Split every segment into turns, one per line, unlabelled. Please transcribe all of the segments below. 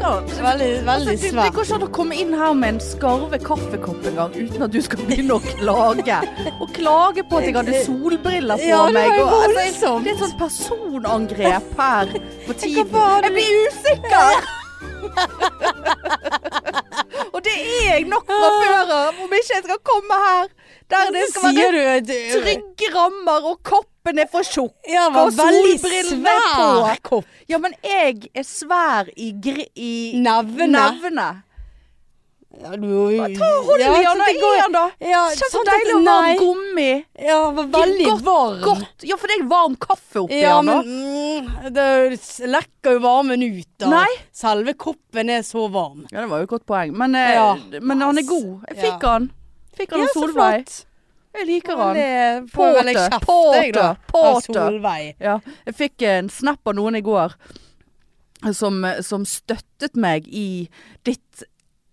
veldig, veldig
Altså, det, det
svært.
går ikke an å komme inn her med en skarve kaffekopp en gang uten at du skal begynne å klage. Og klage på at jeg hadde solbriller på
Ja, det var
meg.
jo
Og, altså,
voldsomt.
det er et sånt personangrep her på
Hva
tiden.
var det?
Jeg blir usikker! og det er jeg nok fra før av, om ikke jeg skal komme her der det skal være
Sier du at
trygge rammer og koppen er for tjukk.
Ja, det var
og
veldig
solbrillene
svær kopp.
Ja, men jeg er svær i, gri i
Nevene.
nevene.
Ja, du-
Ta hold i
Ja,
han
så
da,
det går-
i han da.
Ja,
Kjenn så
sant at-
deilig å være
nei.
gummi.
Ja, det var veldig
godt,
varm.
Godt. Ja, for det er varm kaffe oppi
Ja,
han da.
men mm, det s- lekker jo varmen ut. Da.
Nei.
Selve koppen er så varm.
Ja, det var jo et godt poeng. Men, eh,
Ja.
men han er god. Jeg fikk han. Fikk han av Solveig. Jeg liker han.
Veldig-
Påte,
får vel jeg kjeft,
påte,
jeg, da,
påte.
av Solveig.
Ja, jeg fikk en snap av noen i går som, som støttet meg i ditt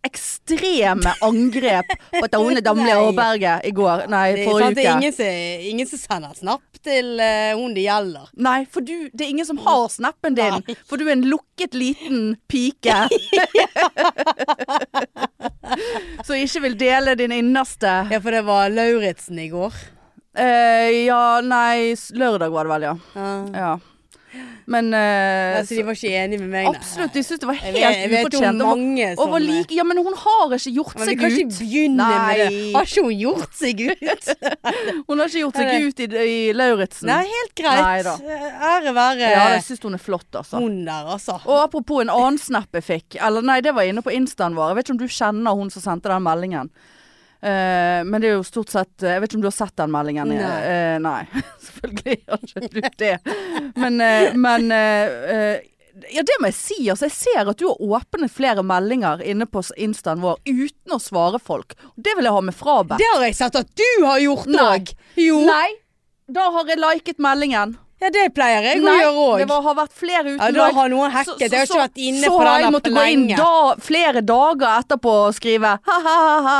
ekstreme angrep på Tone Damli
Nei.
Aaberge i går. Nei,
Det er, Eh, sant,
forrige
det er
uke.
ingen, som, ingen som sender snap til eh, hun det gjelder.
Nei, for du, det er ingen som har snappen din.
Nei.
For du er en lukket liten pike. Som ikke vil dele din innerste.
Ja, for det var Lauritzen i går.
Eh, ja, nei, s- lørdag var det vel, ja.
Ja.
ja. Men eh,
Altså, Mm. de var ikke enige med meg, nei.
absolutt, de syntes det var
Jeg vet,
helt
jeg vet om
ufortjent. Og-
mange som eh,
Og var like, ja, men hun har ikke gjort
Men vi
seg
kan
ut.
ikke begynne med det.
Nei.
Har ikke hun gjort seg ut?
Hun har ikke gjort
Er
seg
det-
ut i, i Lauritzen.
Nei, helt greit.
Nei da.
Ære være
Ja, jeg syns hun er flott, altså.
hun der, altså.
Og apropos en annen snap jeg fikk. Eller nei, det var inne på instaen vår. Jeg vet ikke om du kjenner hun som sendte den meldingen. Eh, men det er jo stort sett eh, Jeg vet ikke om du har sett den meldingen?
Nei.
Eh, nei. Selvfølgelig har ikke du det. Men, eh, men eh, eh, Ja, det må jeg si. Altså, jeg ser at du har åpnet flere meldinger inne på s- instaen vår uten å svare folk. Det vil jeg ha med frabedt.
Det har jeg sett at du har gjort
Nei.
òg. Jo.
Nei! Da har jeg liket meldingen.
Ja, det pleier jeg å
Nei,
gjøre
det
òg.
var, har vært flere uten
Ja, da
like.
har noen hacket. Jeg har ikke vært inne på
så
den
har jeg
appen
måttet gå inn
lenge.
da, flere dager etterpå og skrive ha-ha-ha.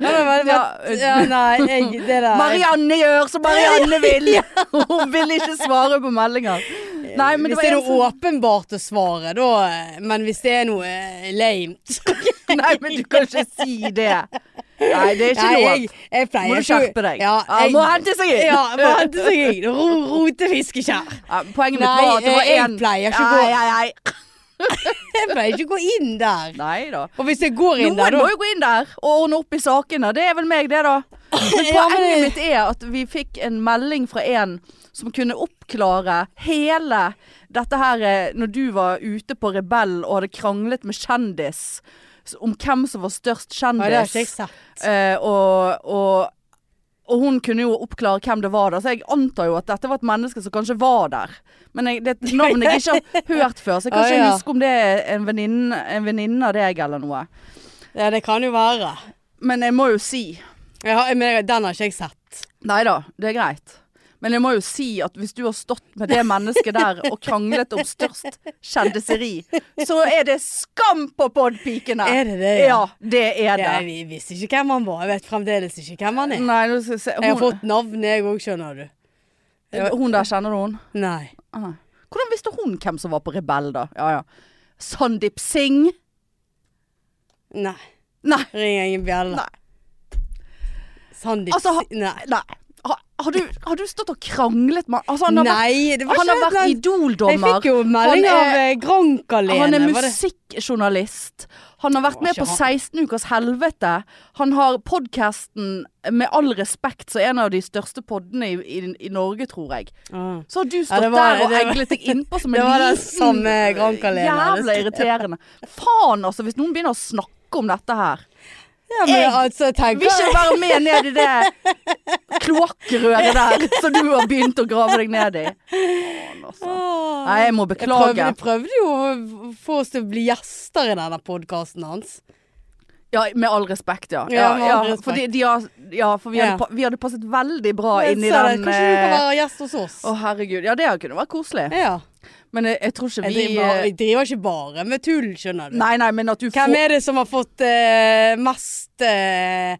Ja, det var-
Ja.
ja, nei, jeg, det der
Marianne gjør som Marianne vil! Hun vil ikke svare på meldinger. Nei, men det
Hvis
var
det er
en
noe
som
åpenbart å svare, da eh, Men hvis det er noe eh, lame
Nei, men du kan ikke si det. Nei, det er ikke
Nei,
lov.
jeg, jeg pleier
Må du
ikke å-
skjerpe deg.
Ja,
Ja, må hente seg inn.
Ja, må hente seg inn. Ro, rotefiskeskjær.
Ja, poenget mitt
Nei,
var at det var
jeg
en
pleier ikke å gå-
nei, nei, nei.
Jeg pleier ikke å gå inn der.
nei da.
Og hvis jeg går inn
Noen
der,
må
da
jo gå inn der og ordne opp i sakene. Det er vel meg, det, da. Men
Ja, men-
poenget mitt er at vi fikk en melding fra en som kunne oppklare hele dette her eh, når du var ute på Rebell og hadde kranglet med kjendis s- om hvem som var størst
Ja, det har ikke jeg
kjendis.
sett.
Eh, og, og, og hun kunne jo oppklare hvem det var, da. Så jeg antar jo at dette var et menneske som kanskje var der. Men jeg, det er et navn jeg ikke har hørt før, så jeg kan
Ja,
ikke
ja.
huske om det er en venninne en venninne av deg eller noe.
Ja, det kan jo være.
Men jeg må jo si
Jeg har, men jeg- den har ikke jeg sett.
Nei da, det er greit. Men jeg må jo si at hvis du har stått med det mennesket der og kranglet om størst kjendiseri, så er det skam på podpikene!
Er det det,
Ja,
ja?
det er det.
Ja, jeg visste ikke hvem han var. Jeg vet fremdeles ikke hvem han er.
Nei, nå skal jeg se.
Jeg har
Hun,
fått navnet, jeg òg, skjønner du.
hun der, kjenner du hun?
Nei.
Ah. Hvordan visste hun hvem som var på Rebell, da? Ja ja. Sandeep Singh?
Nei.
Nei.
Ringer ingen bjelle.
Nei.
Sandeep
Altså, ha-
Si- Nei.
Nei. Har, har, du, har du stått og kranglet med han? altså, han? Har vært,
Nei, det var
han
ikke
har vært
Jeg
Idol-dommer.
fikk jo
Han
melding
er-
av eh, Grankalene.
Han er
var det-
musikkjournalist. Han har vært
Å,
med
ikke
på
han.
16 ukers helvete. Han har podkasten Med all respekt, så en av de største poddene i, i, i Norge, tror jeg.
Ah.
Så har du
Ja,
stått
det var-
der og
det var-
eglet deg innpå som en
Det var den
liten
samme Grankalene hadde
Jævla
skrevet.
irriterende. Faen, altså, hvis noen begynner å snakke om dette her.
Ja, men
Jeg
altså, jeg tenker
Vil ikke være med ned i det kloakkrøret der som du har begynt å grave deg ned i. Faen, altså.
Åh.
Nei, jeg må
Jeg prøvde,
beklage.
jeg prøvde jo å få oss til å bli gjester i denne podkasten hans.
Ja, med all respekt, ja.
Ja,
ja,
med all
ja,
respekt.
For, de, de har, ja, for vi,
Ja.
hadde, pa- vi hadde passet veldig bra
Jeg
inn i
sa det,
den
Kanskje du kan
eh, Å,
være gjest hos oss?
herregud. Ja, det kunne vært koselig.
Ja.
Men jeg, jeg tror ikke
Jeg
vi
driver,
eh,
jeg driver ikke bare med tull, skjønner du.
Nei, nei, men at du
Hvem
får
er det som har fått eh, mest eh,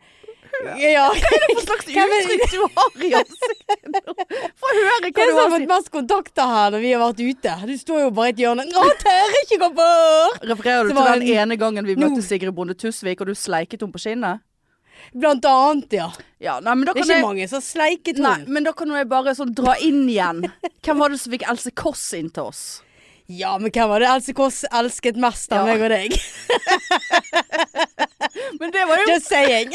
Ja.
Hva slags
Hvem er-
uttrykk du har i ansiktet nå? Få høre hva
Hvem
du
som har
har
fått mest kontakter her når vi har vært ute? Du står jo bare i et hjørne. Nå tør jeg ikke gå bort!
Refererer du
Så var
til den
det-
ene gangen vi
Nå.
møtte Sigrid Bonde Tusvik, og du sleiket henne på skinnet?
Blant annet, ja.
Ja, nei, men da
Det
kan
er ikke
jeg
mange som sleiket
Nei,
henne.
men da kan jo jeg bare sånn dra inn igjen. Hvem var det som fikk Else Kåss inn til oss?
Ja, men hvem var det Else Kåss elsket mest av
Ja.
meg og deg?
Men det var jo
Just saying.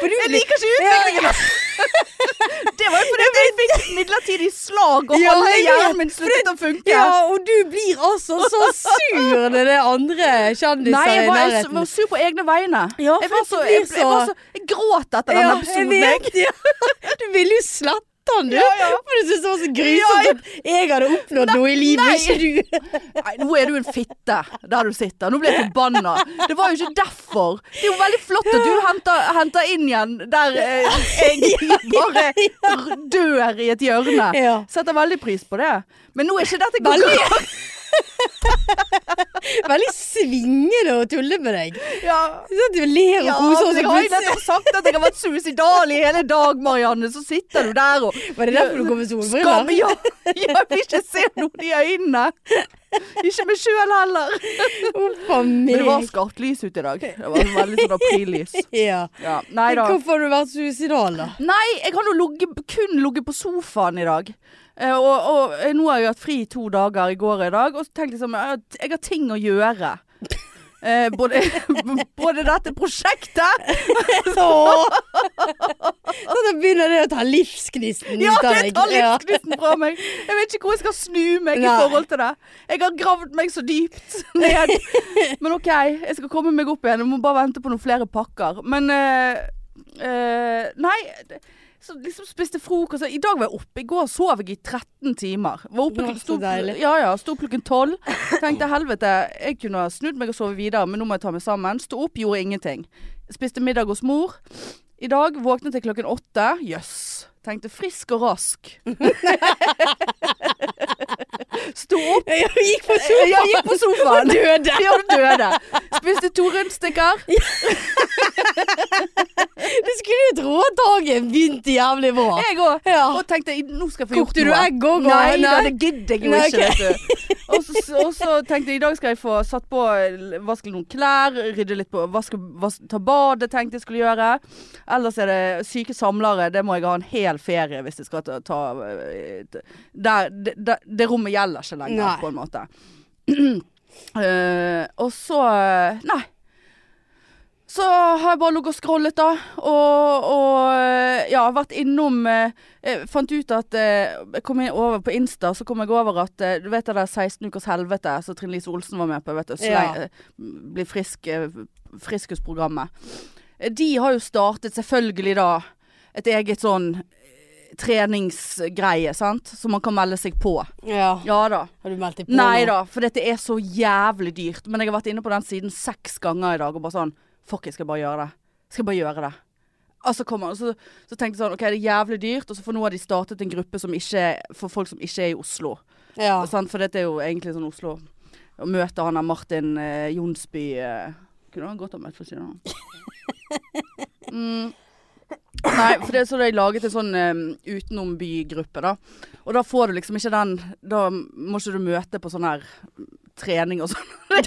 For du,
Jeg liker ikke utviklingen! da. Det var jo fordi jeg fikk et midlertidig slag, og
Ja,
halve
jeg vet,
hjernen min sluttet å funke.
ja, og du blir altså så sur når det er andre
Nei,
kjendiser
jeg
i
var, jeg
nærheten.
var sur på egne vegne.
Ja,
jeg,
for
var
det
så,
blir
jeg, ble- jeg,
så-
var så, jeg gråt etter denne episoden.
jeg vet, ja. Du ville jo slette han, du.
Ja, ja.
For du syntes det var
Ja,
så
ja.
grusomt at jeg hadde oppnådd noe i livet,
nei.
ikke du.
Nei, nå er du en fitte der du sitter. Nå ble jeg forbanna. Det var jo ikke derfor. Det er jo veldig flott at du henter, henter inn igjen der eh, jeg bare r- dør i et hjørne.
Ja.
Setter veldig pris på det. Men nå er ikke dette
Veldig.
konkurranse.
Veldig svingende å tulle med deg.
Ja.
Sånn at du ler og
Ja,
koser
men
oss.
jeg har jo nettopp sagt at jeg har vært suicidal i hele dag, Marianne. Så sitter du der og
Var det derfor du kom med
Skam,
solbriller?
ja, jeg vil ikke se noen i øynene. Ikke meg sjøl heller.
Huff a
Men det var
meg.
skarpt lys ute i dag. Det var veldig sånn aprillys.
Ja.
Ja, nei da.
Hvorfor har du vært suicidal, da?
Nei, jeg har nå ligget- kun ligget på sofaen i dag. Eh, og, og eh, nå har jeg hatt fri i to dager i går og i dag, og tenkt liksom at jeg har ting å gjøre. Eh, både, både dette prosjektet
Åh. Sånn at begynner det å ta livsgnisten
Ja,
ut av
det
deg.
tar
Ja.
livsgnisten fra meg! Jeg vet ikke hvor jeg skal snu meg i
Nei.
forhold til det. Jeg har gravd meg så dypt ned. Men OK, jeg skal komme meg opp igjen. Jeg må bare vente på noen flere pakker. Men eh, eh, Nei. det- Så liksom spiste frokost I dag var jeg oppe. I går sov jeg i 13 timer. Var oppe,
Å, så
sto-
deilig.
Ja ja, sto opp klokken 12. Tenkte helvete, jeg kunne ha snudd meg og sovet videre, men nå må jeg ta meg sammen. Sto opp, gjorde ingenting. Spiste middag hos mor. I dag våknet jeg klokken åtte. Jøss. Tenkte frisk og rask. Sto opp.
Jeg gikk på sofaen.
Jeg gikk på sofaen.
Døde.
Ja, du døde. Spiste to rundstykker.
Du skulle jo tro at dagen begynte jævlig bra.
Jeg òg.
Ja.
Og tenkte jeg, nå skal jeg få gjort
Kokte du
noe.
egg òg?
Nei, da, det gidder jeg jo
Nei,
ikke. Vet du. Og så- Og så tenkte jeg i dag skal jeg få satt på Vaske noen klær, rydde litt på vaske, vas- Ta badet, tenkte jeg skulle gjøre. Ellers er det syke samlere. Det må jeg ha en hel ferie hvis jeg skal ta, ta eh, der, det, det, det rommet gjelder ikke lenger,
Nei.
på en måte. Eh, og så Nei. Så har jeg bare ligget og scrollet, da. Og, og eh, ja, vært innom eh, jeg fant ut at eh, Jeg kom inn over på Insta, så kom jeg over at eh, Du vet det der 16 ukers helvete som Trine Lise Olsen var med på? Vet du, så
Ja.
lenge, bli frisk eh, Friskusprogrammet. Eh, De har jo startet selvfølgelig da et eget sånn eh, treningsgreie, sant? Som man kan melde seg på.
Ja.
Ja da.
Har du meldt deg på?
Nei
nå?
da, for dette er så jævlig dyrt. Men jeg har vært inne på den siden seks ganger i dag og bare sånn Fuck, jeg skal bare gjøre det. Jeg skal bare gjøre det. Altså, kommer, så, så tenkte jeg sånn OK, det er jævlig dyrt. Og så for nå har de startet en gruppe som ikke, for folk som ikke er i Oslo.
Ja.
Sant? For dette er jo egentlig sånn Oslo. Å møte han der Martin eh, Jonsby eh, Kunne han godt ha møtt, for å si det sånn. Mm. Nei, for det, så de laget en sånn um, utenomby-gruppe, da. Og da får du liksom ikke den Da må ikke du møte på sånn her trening og sånn.
Hva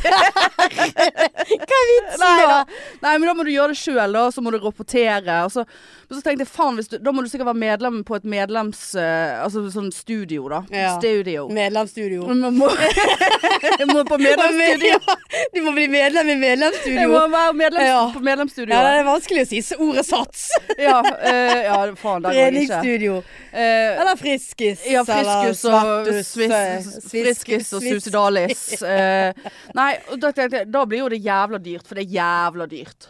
er vitsen
Nei,
da?
da. Nei, men da må du gjøre det sjøl, da. og Så må du rapportere. Og så, men så tenkte jeg faen, hvis du, da må du sikkert være medlem på et medlems... eh, altså sånn studio, da.
Ja.
Studio.
Medlemsstudio.
Men man må, jeg må på medlemsstudio.
Ja, Du må bli medlem i
Jeg må
medlemsstudio.
være medlems,
Ja.
på
Ja,
medlemsstudioet.
det er vanskelig å si så ordet sats.
Ja, eh, ja, faen, der går det ikke.
Treningsstudio.
Eh,
Eller friskis.
ja,
eller
friskus og
svartus, eh,
svis-
svisk-
Friskus og
svisk.
suicidalis. Eh, nei, og da, tenkte jeg, da blir jo det jævla dyrt, for det er jævla dyrt.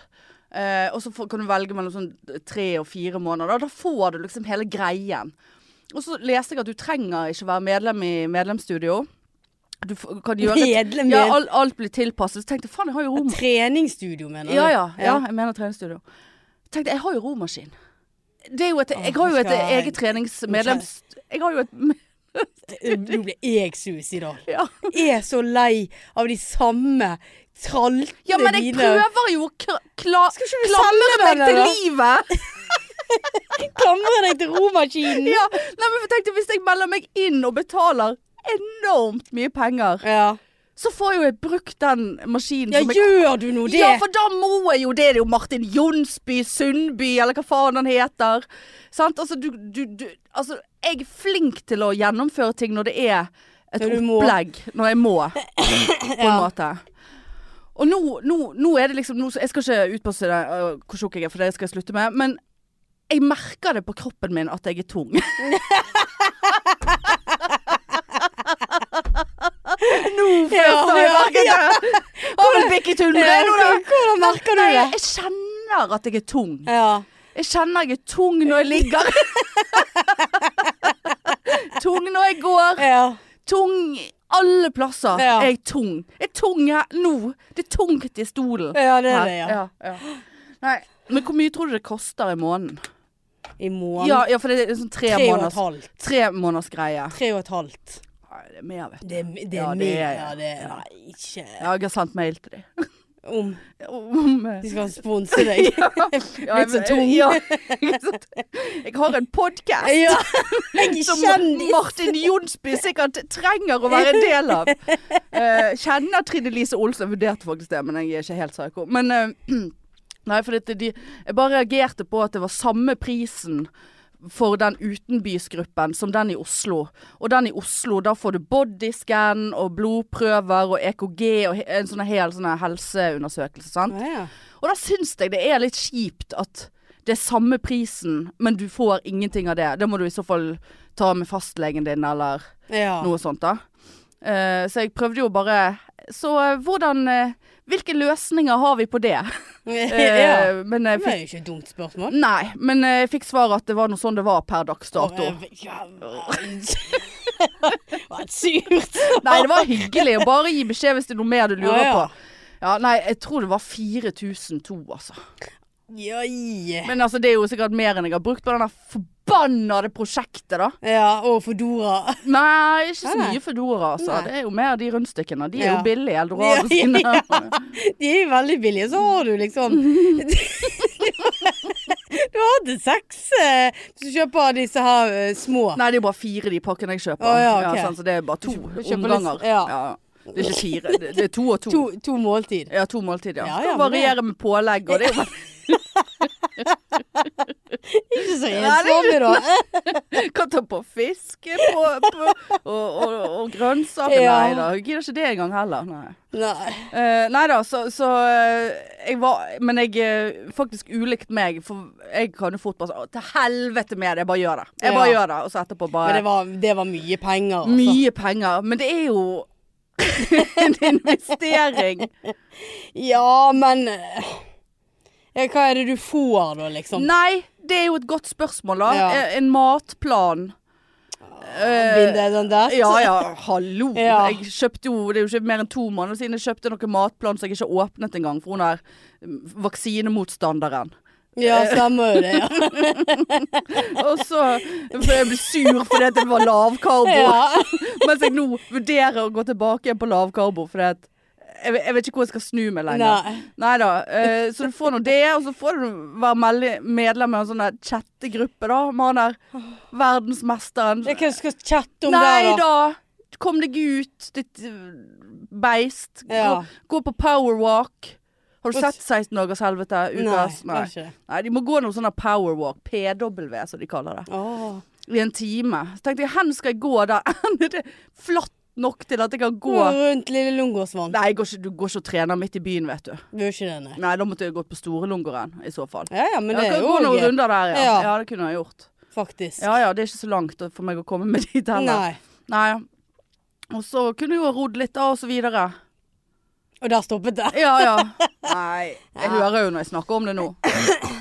Eh, og så får- kan du velge mellom sånn tre og fire måneder. Da, da får du liksom hele greien. Og så leste jeg at du trenger ikke være medlem i medlemsstudio. Du f- kan gjøre
Medlem i
Ja, alt, alt blir tilpasset. Så tenkte jeg faen, jeg har jo rom
Treningsstudio, mener du?
Ja, ja, ja. Jeg mener treningsstudio. Tenkte, jeg har jo romaskin. Det er jo et, jeg har jo et
skal-
eget treningsmedlems... Jeg har jo et
Nå ble jeg suicidal.
Ja.
Jeg er så lei av de samme traltene
ja, men jeg
dine.
prøver jo å kla- kla-
Skal ikke du
klamre
selge
meg
den,
til
eller?
livet!
Klamre deg til romaskinen.
Ja, nei, men tenk deg hvis jeg melder meg inn og betaler enormt mye penger,
Ja.
så får jo jeg brukt den maskinen
ja,
som jeg
gjør du nå det?
Ja, for da må jeg jo det. Det er jo Martin Jonsby Sundby, eller hva faen han heter. Sant? Altså, du, du, du Altså, jeg er flink til å gjennomføre ting når det er et
Når du må.
opplegg. Når jeg må, på en
Ja.
måte. Og nå, nå, nå er det liksom nå, Jeg skal ikke utpasse det, øh, hvor tjukk jeg er, for det skal jeg slutte med. Men jeg merker det på kroppen min at jeg er tung. nå føler jeg
ja,
merket det. Har vel bikket 100 nå,
Ja,
da.
Hvordan merker du
Nei,
det?
jeg kjenner at jeg er tung.
Ja.
Jeg kjenner jeg er tung når jeg ligger. tung når jeg går.
ja.
Tung alle plasser
Ja.
er jeg tung. Jeg er tung her nå. Det er tungt i stolen.
Ja, det er det, ja.
Ja, ja. Nei. Men hvor mye tror du det koster i måneden?
I morgen.
Ja, ja for det er sånn tre,
tre og et
måneders,
halvt.
tre måneders greie.
Tre og et halvt.
Nei, det er mer, vet du.
Det, er- det
Ja,
er
det
mer,
er-
ja. Det er Nei, ikke
Ja, jeg har sendt mail til dem.
Om
Om eh,
de skal sponse deg.
ja,
Litt så
jeg-
tung.
Ja, ikke sant? jeg har en podkast.
Ja. Jeg er
som
kjendis.
Martin Jonsby sikkert trenger å være en del av. Eh, kjenner Trine Lise Olsen, jeg vurderte faktisk det, men jeg er ikke helt psyko. Men eh, nei, for dette, de, jeg bare reagerte på at det var samme prisen for den utenbysgruppen som den i Oslo. Og den i Oslo, da får du bodyscan og blodprøver og EKG og he- en sånn hel sånn helseundersøkelse, sant.
Ja, ja.
Og da syns jeg det er litt kjipt at det er samme prisen, men du får ingenting av det. Det må du i så fall ta med fastlegen din eller
Ja.
noe sånt, da. Eh, så jeg prøvde jo bare Så eh, hvordan eh, Hvilke løsninger har vi på det?
ja.
Eh, men jeg
Det
fikk
er jo ikke et dumt spørsmål.
Nei, men eh, jeg fikk svar at det var noe sånn det var per dags dato.
Og, eh, ja, Det var et surt.
Nei, det var hyggelig å bare gi beskjed hvis det er noe mer du lurer
Ja, ja.
på. Ja, nei, jeg tror det var 4002, altså.
Ja, ja.
Men altså, det er jo sikkert mer enn jeg har brukt på den der forbannede prosjektet, da.
Ja, og Fodora.
Nei, ikke så
Nei, nei.
mye Foodora, altså.
Nei.
Det er jo mer de rundstykkene. De er
Ja.
jo billige, Eldorado
Ja,
sine.
ja. De er jo veldig billige, så har du liksom Du har hatt seks eh, hvis du kjøper disse her eh, små.
Nei, det er jo bare fire de pakkene jeg kjøper.
Å, ja, ok.
sant, så det er bare to
Du kjøper litt-
omganger.
ja.
Det er ikke fire, det, det er to og to.
To, to måltid.
Ja, to måltider. Ja,
Ja, ja,
ja,
men det-
varierer med pålegg, og det er jo
Ikke så
Ja, det er
ensomme, da.
Kan ta på fisk på, på, og, og, og grønnsaker.
Ja.
Nei da, jeg gidder ikke det engang heller. Nei.
Nei.
Eh, nei da, så, så eh, jeg var Men jeg eh, faktisk ulikt meg, for jeg kan jo fort bare sånn «Å, Til helvete med det, jeg bare gjør det. Jeg bare
Ja.
gjør det, og så etterpå bare
Men det var, det var mye penger, altså.
Mye penger, men det er jo en investering.
Ja, men eh, ja, Hva er det du får, da, liksom?
Nei, det er jo et godt spørsmål, da.
Ja.
Eh, En matplan. Eh,
Binde den sånn der?
Ja ja, hallo.
Ja.
Jeg kjøpte jo, Det er jo ikke mer enn to måneder siden jeg kjøpte noen matplan som jeg ikke åpnet engang, for hun er mm, vaksinemotstanderen.
Ja, stemmer jo det. Ja.
Og så For jeg ble sur fordi at det var lavkarbo.
Ja.
Mens jeg nå vurderer å gå tilbake igjen på lavkarbo fordi at jeg, vet- jeg vet ikke hvor jeg skal snu meg lenger.
Nei.
Nei da. eh, så du får nå det, og så får du være melde- medlem av en sånn der chattegruppe, da. Med han der verdensmesteren.
Ja, Hva skal vi chatte om
Nei
der, da?
da! Kom deg ut, ditt øh, beist. Gå,
Ja.
gå på powerwalk. Har du sett 16 dagers helvete? Ukas?
Nei, kanskje det.
Nei, de må gå noe sånn der powerwalk. PW, som de kaller det
Åh.
i en time. Så tenkte jeg, hen skal jeg gå da? Er det flatt nok til at jeg kan gå?
Gå rundt Lille Lungåsvann.
Nei, jeg går ikke, du går ikke og trener midt i byen, vet du.
Du gjør ikke det, nei.
Nei, da måtte jeg gått på Storelungeren i så fall.
Ja ja, men det
jeg
er
kan
jo
gå noen
gøy,
runder der, ja. ja.
Ja.
det kunne jeg gjort.
faktisk.
Ja ja, det er ikke så langt for meg å komme med dit heller.
Nei.
Nei. Og så kunne jeg jo ha rodd litt da, og så videre.
Og der stoppet det.
Ja ja. Nei, jeg hører jo når jeg snakker om det nå.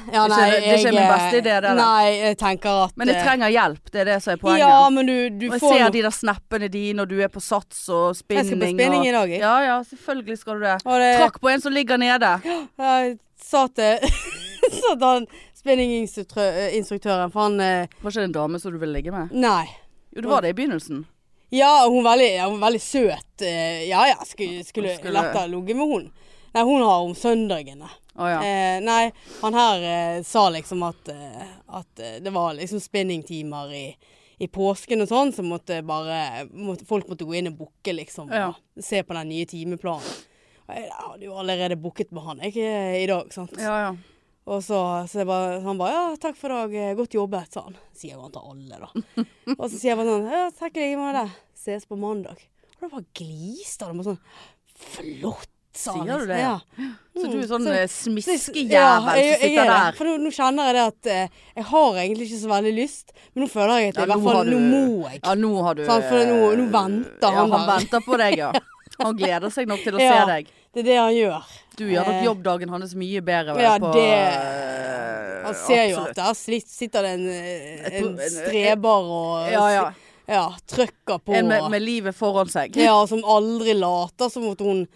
Ja,
Det er ikke- det er ikke
jeg,
min beste idé, det der.
Nei, jeg tenker at
Men jeg
eh,
trenger hjelp, det er det som er poenget.
Ja, men du, du
Og jeg
får
ser
noe.
de der snappene de når du er på sats og spinning.
Jeg skal på spinning
og,
i dag, jeg.
Ja, ja, selvfølgelig skal du det.
Og det-
Trakk på en som ligger nede.
Jeg sa til sa til han spinninginstruktøren, for han eh,
Var ikke det en dame som du ville ligge med?
Nei.
Jo, det var det i begynnelsen.
Ja, hun er veldig, ja, hun er veldig søt. Eh, Ja ja, skulle, skulle,
Skulle-
lett ha ligget med hun. Nei, hun har om søndagene.
Å ja.
Eh, nei, han her eh, sa liksom at, eh, at eh, det var liksom spinningtimer i, i påsken og sånn, så måtte bare måtte, Folk måtte gå inn og booke, liksom.
Ja.
Og se på den nye timeplanen. Og Jeg jeg hadde jo allerede booket med han jeg, eh, i dag, sant.
Ja, ja.
Og så, så jeg bare, han bare 'Ja, takk for dag. eh, Godt jobbet', sa han. Sier jo han til alle, da. Og så sier jeg bare sånn 'Ja, takk i like måte. Ses på mandag'. Og da bare gliste han og bare sånn 'Flott', sa han.
Sier du
liksom.
det?
Ja.
Så du er sånn
mm, Så-
eh,
Ja,
smiskejævel
jeg-
som
jeg er
sitter
det.
der.
For nå, nå kjenner jeg det at eh, jeg har egentlig ikke så veldig lyst, men nå føler jeg at
Ja,
jeg, i
nå
hvert fall
har du-
nå må jeg.
Ja, nå har du eh,
Sant, for nå- nå venter
ja,
han
Han
der.
venter på deg, ja. Han gleder seg nok til å
Ja.
se deg.
Det er det han gjør.
Du gjør nok
Eh.
jobbdagen hans mye bedre
Ja,
på eh,
det- Han ser jo
Absolutt.
at der sli- sitter det en, eh,
Et pro-
en
en-
streber og
Ja, ja.
ja, trøkker på.
En med, med livet foran seg.
Ja, som aldri later som at hun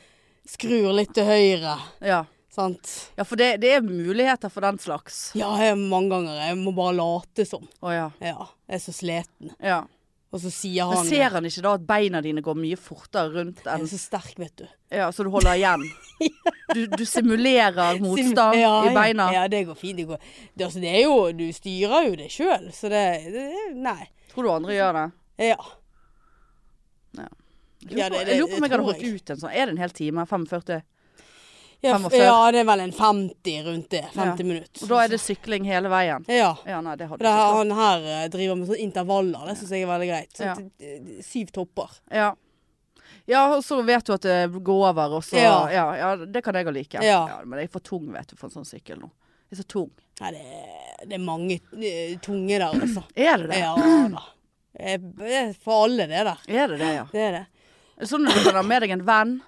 skrur litt til høyre.
Ja.
Sant?
Ja, for det, det er muligheter for den slags.
Ja, jeg, mange ganger. Jeg må bare late som.
Å ja.
Ja, jeg er så sliten.
ja.
Og så sier
Men
han
ser han ikke da at beina dine går mye fortere rundt
Jeg
enn
er så sterk, vet du.
Ja, så du holder igjen? Du, du simulerer motstand
Sim- ja,
i beina?
Ja, ja, det går fint. Det, går. Det, altså, det er jo Du styrer jo det sjøl, så det, det Nei.
Tror du andre gjør det?
Ja.
Jeg lurer
Ja,
på-
det- det-
jeg lurer på om
det
jeg hadde
tror
holdt ut en sånn. Er det en hel time? 45?
Ja,
Fem og
f-
før.
ja, det er vel en 50 rundt det. 50 minutter.
Og da er det sykling hele veien?
Ja.
Ja, nei, det hadde
For det,
jeg
her-
ikke klart.
han her eh, driver med sånne intervaller. Det syns jeg er veldig greit. Så,
Ja.
d- d- d- Syv topper.
Ja. ja, og så vet du at det går over, og så Ja,
Ja.
ja, det kan jeg òg like.
Ja.
Men jeg er for tung, vet du, for en sånn sykkel nå. Jeg er så tung.
Nei, det, er- det er mange eh, tunge der, altså.
Er det det?
Ja da. Eh, Det er for alle, det der.
Er det det, ja?
Det er det.
Sånn at du kan ha med deg en venn?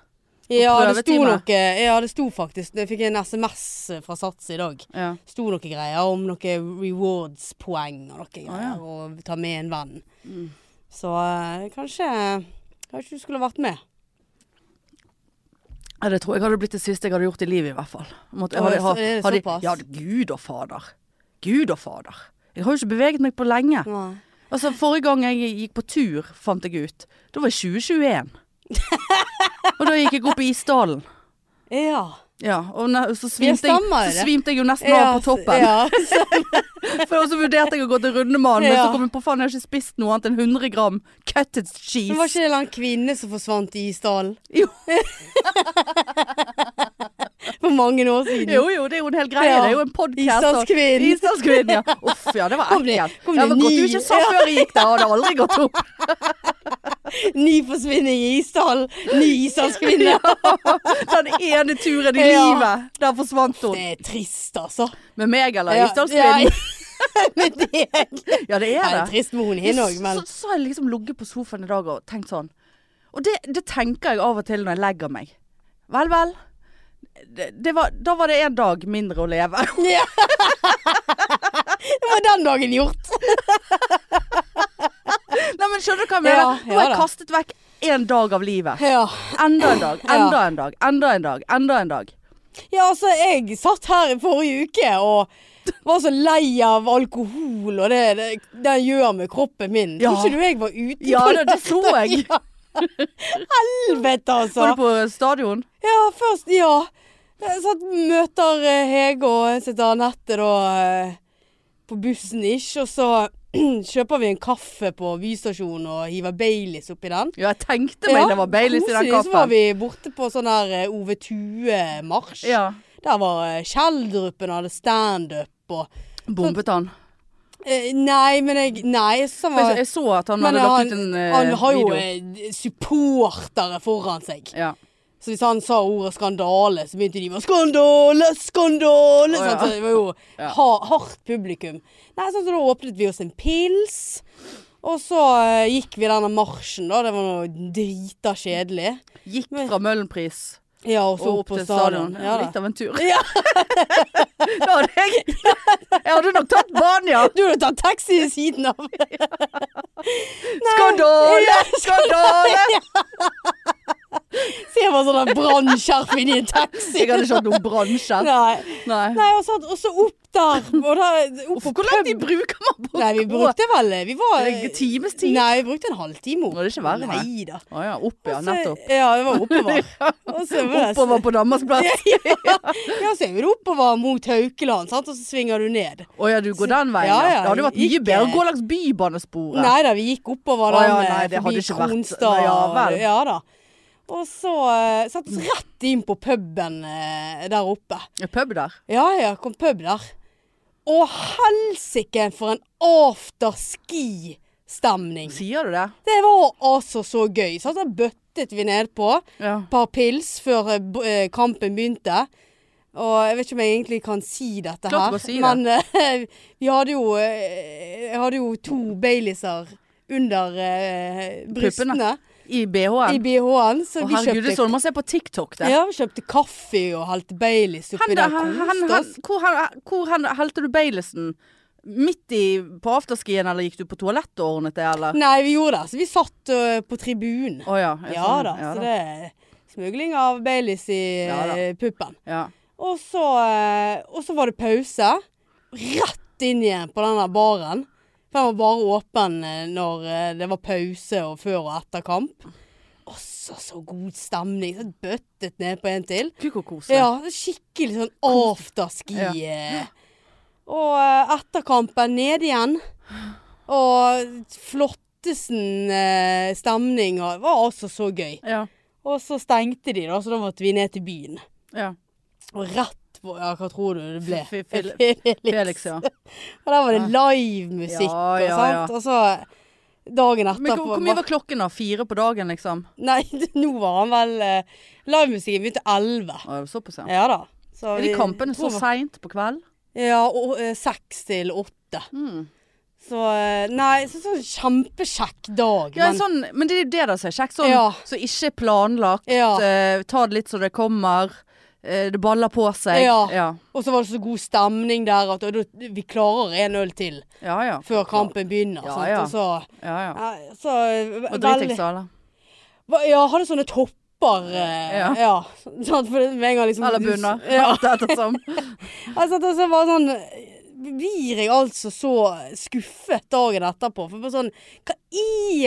Ja, det sto
prøvetime.
noe Ja, det sto faktisk Jeg fikk en SMS fra Sats i dag.
Ja.
sto noen greier om noen rewards-poeng og noen greier,
ja. Mm.
og ta med en venn. Så eh, kanskje, kanskje du skulle vært med.
Ja, det tror jeg hadde blitt det siste jeg hadde gjort i livet, i hvert fall. Måtte,
Å,
hadde,
så- er det
hadde,
såpass?
ja, gud og fader. Gud og fader. Jeg har jo ikke beveget meg på lenge.
Mm.
Altså, forrige gang jeg gikk på tur, fant jeg ut. Da var jeg 2021. og da gikk jeg opp i Isdalen.
Ja.
Ja, og ne så, svimte jeg,
stemmer
så
det.
svimte jeg jo nesten av
ja,
på toppen.
Ja, så-
For så vurderte jeg å gå til Rundemann, men
Ja.
så kom jeg på faen, jeg har ikke spist noe annet enn 100 gram cutted cheese.
men var ikke det en eller annen kvinne som forsvant i Isdalen?
Jo.
For mange år siden.
Jo, jo, det er jo en hel greie.
Ja.
Det er jo en podkast.
Isdagskvinnen.
Isdagskvinnen, ja. Uff, ja, det var
Kom det-
ekkelt.
kom
Det
det
var godt du
ny-
ikke sa før jeg gikk der, og det har aldri gått opp.
Ny forsvinning i Isdalen. Ny isdalskvinne.
Den ene turen i
Ja.
livet, der forsvant hun.
Det er trist, altså.
Med meg eller
Ja,
Isdagskvinnen?
ja, Med deg.
Ja, det er
Ja, det er
det.
trist med hun hin òg, men
Så, så har jeg liksom ligget på sofaen i dag og tenkt sånn. Og det, det tenker jeg av og til når jeg legger meg. Vel, vel. Det, det var, da var det en dag mindre å leve.
Ja. Det var den dagen gjort.
Nei, men skjønner du hva jeg mener?
Ja,
Nå har
ja
jeg
da.
kastet vekk en dag av livet.
Ja.
Enda en dag, enda en dag, enda en dag, enda en dag.
Ja, altså, jeg satt her i forrige uke og var så lei av alkohol og det det, det gjør med kroppen min.
Ja.
Tror ikke du jeg var ute
Ja,
på
det, det så jeg.
Ja. Helvete, altså.
Var du på stadion?
Ja, først Ja. Jeg satt, møter eh, Hege og sitter Anette da eh, på bussen ish, og så kjøper vi en kaffe på Vystasjonen og hiver Baileys oppi den.
Ja, jeg tenkte meg det var Baileys i den
koselig, Så var
kaffen.
vi borte på sånn her eh, Ove Tue-marsj.
Ja.
Der var eh, Kjeldrupen hadde standup og
Bombet han.
eh, Nei, men jeg Nei, jeg synes
For
han
Jeg,
var
jeg så at han
Men
hadde lagt ut
han,
en eh,
han har jo
video.
eh, supportere foran seg.
Ja.
Så hvis han sa ordet skandale, så begynte de med 'skandale,
Å,
skandale'.
ja.
sant? Så det var jo
Ja.
ha, hardt publikum. Nei, sånn, så da åpnet vi oss en pils. Og så eh, gikk vi denne marsjen, da. Det var noe drita kjedelig.
Gikk fra Møhlenpris
Ja, og så
og
opp, på stadion.
Ja,
Ja, da.
litt av en tur.
Ja.
da hadde jeg Jeg hadde nok tatt banen, ja.
Du hadde tatt taxi ved siden av.
Skandale! Skandale!
Ser bare sånn der brannskjerf inni en taxi.
Jeg hadde ikke hatt noen bransjer.
Nei.
Nei.
Nei, og så, og så opp der. Og da, opp
Uff,
på
hvor lang
pub.
tid bruker man på
Nei, vi brukte vel Vi var
En times tid?
Nei, vi brukte en halvtime opp.
Må det ikke være, nei.
Nei da.
Å ja, opp ja,
Og så-
nettopp.
Ja, det var oppover. Og så var det-
Oppover på Danmarksplass.
Ja, så er det oppover mot Haukeland, sant? og så svinger du ned.
Å ja, du går den veien,
Ja,
ja.
ja,
Det hadde vært mye
ikke-
bedre å gå langs bybanesporet.
Nei da, vi gikk
Å,
oppover den
ja,
eh,
nei, det hadde
forbi
ikke vært-
Kronstad.
Nei, ja, vel.
ja da. Og så eh, satte vi oss rett inn på puben eh, der oppe.
En Pub der.
Ja ja, kom pub der. Å helsike for en afterski-stemning.
Sier du det?
Det var altså så gøy. Sant? Da bøttet vi nedpå.
Ja.
Et par pils før eh, b- eh, kampen begynte. Og jeg vet ikke om jeg egentlig kan si dette
Klart du
her,
kan si det.
men eh, vi hadde jo, eh, jeg hadde jo to Baileys-er under eh, brystene
I BH-en.
i BH-en. Så
Å
vi
herregud, det er
kjøpte,
sånn man ser på TikTok, det.
ja, vi kjøpte kaffe og helte Baileys oppi
Hen,
der.
hen, hen,
koste oss.
hvor hen, hvor hen helte du Baileysen? Midt i, på afterskien, eller gikk du på toalettet og ordnet det, eller?
Nei, vi gjorde det. Så vi satt eh, på tribunen.
Å ja. jeg
Ja
sånn,
da, så det er smugling av Baileys i
Ja da.
eh, puppen.
ja.
Og så, eh, og så var det pause. Rett inn igjen på den der baren. For den var bare åpen eh, når eh, det var pause og før og etter kamp. Også så god stemning. Så bøttet ned på en til.
Gud, hvor koselig.
Ja, skikkelig sånn afterski.
Ja.
eh. Og eh, etter kampen ned igjen. Og flottesen eh, stemning. Og det var altså så gøy.
Ja.
Og så stengte de, da, så da måtte vi ned til byen.
ja.
Og rett på Ja, hva tror du det ble?
Fe- fe- Felix, ja.
Og der var det livemusikk
Ja, ja, ja.
og sant. Og så dagen etterpå
Men hvor, hvor mye var klokken da? Fire på dagen, liksom?
Nei, nå var han vel uh, Livemusikken begynte elleve.
Å, det var såpass, ja.
Ja da. Så
Er de
vi-
kampene så
tror-
seint på kveld?
Ja, og, eh, seks til åtte.
Mm.
Så eh, Nei, så sånn kjempekjekk dag.
Ja,
men-
sånn, men det er jo det da som er kjekt. Sånn,
Ja.
Så ikke planlagt.
Ja.
eh, ta det litt så det kommer. eh, det baller på seg.
Ja.
ja.
Og så var det så god stemning der at og, da- vi klarer en øl til
Ja, ja.
før kampen begynner.
Ja,
sant?
ja.
Og så,
Ja, ja.
ja, så eh,
Og
veldig-
dritings, eller?
Hva- Ja, hadde sånne topper. eh,
Ja.
ja. Sånn, for med en gang liksom
Eller bunner.
Ja.
Alt ettersom.
Altså, det så var sånn Blir jeg altså så skuffet dagen etterpå? For bare sånn Hva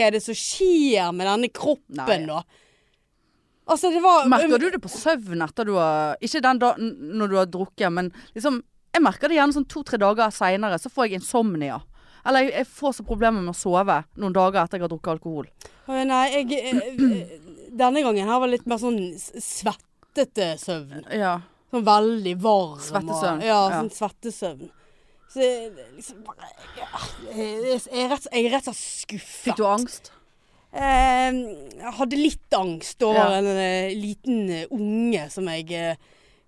er det som skjer med denne kroppen,
Nei.
da? Altså, det var
Merker du det på søvn etter du har Ikke den da, n- når du har drukket, men liksom Jeg merker det gjerne sånn to-tre dager seinere, så får jeg insomnia. Eller jeg, jeg får så problemer med å sove noen dager etter jeg har drukket alkohol.
Å, Nei, jeg eh, Denne gangen her var litt mer sånn s- svettete søvn.
Ja.
Sånn veldig varm. og-
Svettesøvn,
Ja,
ja.
sånn svettesøvn. Så jeg liksom bare Jeg jeg er rett jeg er rett og slett skuffet.
Fikk du angst?
Eh, jeg hadde litt angst over
Ja.
en eh, liten eh, unge som jeg eh,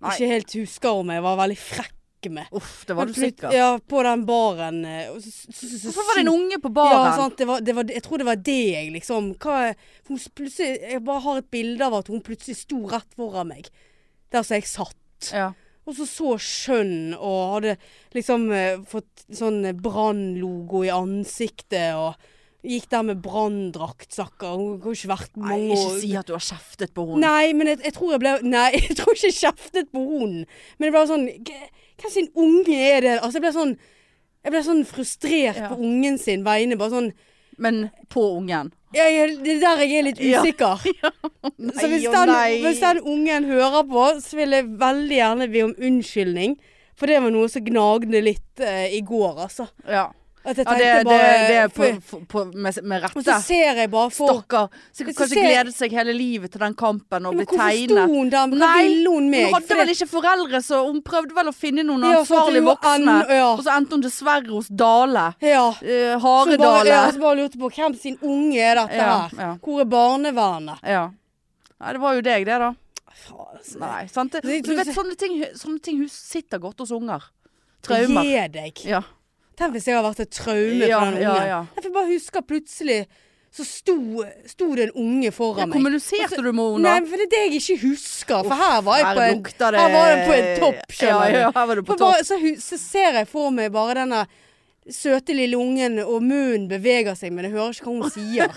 Nei.
ikke helt husker om jeg var veldig frekk med.
Uff, det var du
Men plut-
sikker.
Ja, på den baren. eh, og så- så- så- så-
Hvorfor var det en unge på
Ja,
baren?
sant. Det var, det var, jeg tror det var det jeg liksom hva, for hun s- plutselig, Jeg bare har et bilde av at hun plutselig sto rett foran meg. Der som jeg satt.
Ja.
Og så så skjønn og hadde liksom eh, fått sånn eh, Brann-logo i ansiktet og gikk der med Brann-drakt, stakkar. Hun har jo ikke vært
Nei,
mange
ikke
år.
si at du har kjeftet på henne.
Nei, men jeg, jeg tror jeg ble Nei, jeg tror ikke jeg kjeftet på hunden. Men det ble sånn "Hva- Hvem sin unge er det? Altså, jeg ble sånn Jeg ble sånn frustrert
Ja.
på ungen sin vegne. Bare sånn
Men på ungen.
jeg, jeg, Det er der jeg er litt
Ja.
usikker. så hvis
å
den,
nei.
hvis den ungen hører på, så vil jeg veldig gjerne be om unnskyldning. For det var noe som gnagde litt eh, i går, altså.
Ja,
At jeg
ja
tenkte
det, det,
bare
det er på,
for-
på, på, med, med
Og så
rette.
ser jeg bare for
Stakkar.
Hvis
Sikkert
du
kanskje
ser-
gledet seg hele livet til den kampen og ble
Men hvorfor sto
tegnet.
hun der? Hva
Nei,
ville hun meg?
Hun hadde
For
vel
det-
ikke foreldre, så hun prøvde vel å finne noen
Ja, så at
ansvarlige
hun var
voksne.
an- ja.
Og så endte hun dessverre hos Dale.
ja.
Eh,
Så bare,
Haredale.
ja, så bare lurte på hvem sin unge er dette
Ja,
her?
ja.
Hvor er barnevernet?
Ja. Nei, det var jo deg, det, da.
Faen, altså.
Nei, sant? Det,
Det-
du vet, sånne ting, sånne ting hus sitter godt hos unger. Traumer.
Gi deg.
Ja.
Tenk hvis jeg har vært et traume
Ja,
for den ungen.
ja, ja.
Jeg får bare husker plutselig så sto, sto det en unge
Ja,
foran meg.
kommuniserte du med henne
Nei,
da?
for det er det jeg ikke husker. For her var jeg
Her
på en,
lukter det-
her var jeg på en topp, skjønner
Ja, ja,
du.
her var du på
For bare-
topp.
så, hu- så ser jeg for meg bare denne søte lille ungen, og munnen beveger seg, men jeg hører ikke hva hun sier. det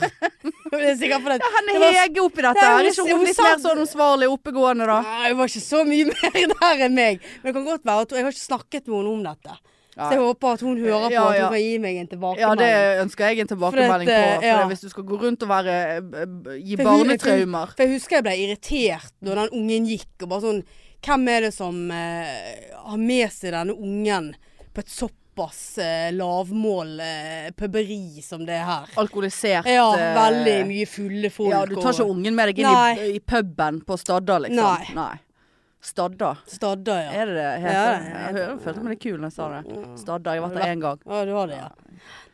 er sikkert fordi at
Han
det
er
var-
hege oppi dette.
Nei,
Er
hun-
ikke
hun
hun litt
sa-
mer sånn ansvarlig oppegående, da?
Nei, hun var ikke så mye mer der enn meg. Men det kan godt være at hun- Jeg har ikke snakket med henne om dette. Så jeg
Nei.
håper at hun hører på
Ja,
at
ja.
hun kan gi meg en
Ja,
tilbakemelding.
det ønsker jeg en tilbakemelding
For
på.
at, eh,
For
ja.
Hvis du skal gå rundt og være, eh, b- b- gi
For hun-
barnetraumer
For jeg husker jeg ble irritert når den ungen gikk, og bare sånn Hvem er det som eh, har med seg denne ungen på et såpass eh, lavmål eh, pøberi som det er her?
Alkoholisert
Ja,
eh,
veldig mye fulle folk.
Ja, du tar ikke
og
ungen med deg inn
Nei.
i, i puben på Stadda, liksom.
Nei.
Stadda.
Stadda, ja.
Er det det heter?
Ja, Mm. det
det?
heter
Jeg hører- følte meg litt kul når jeg sa det. Stadda. Jeg har vært der én gang.
Ja, du har det, ja.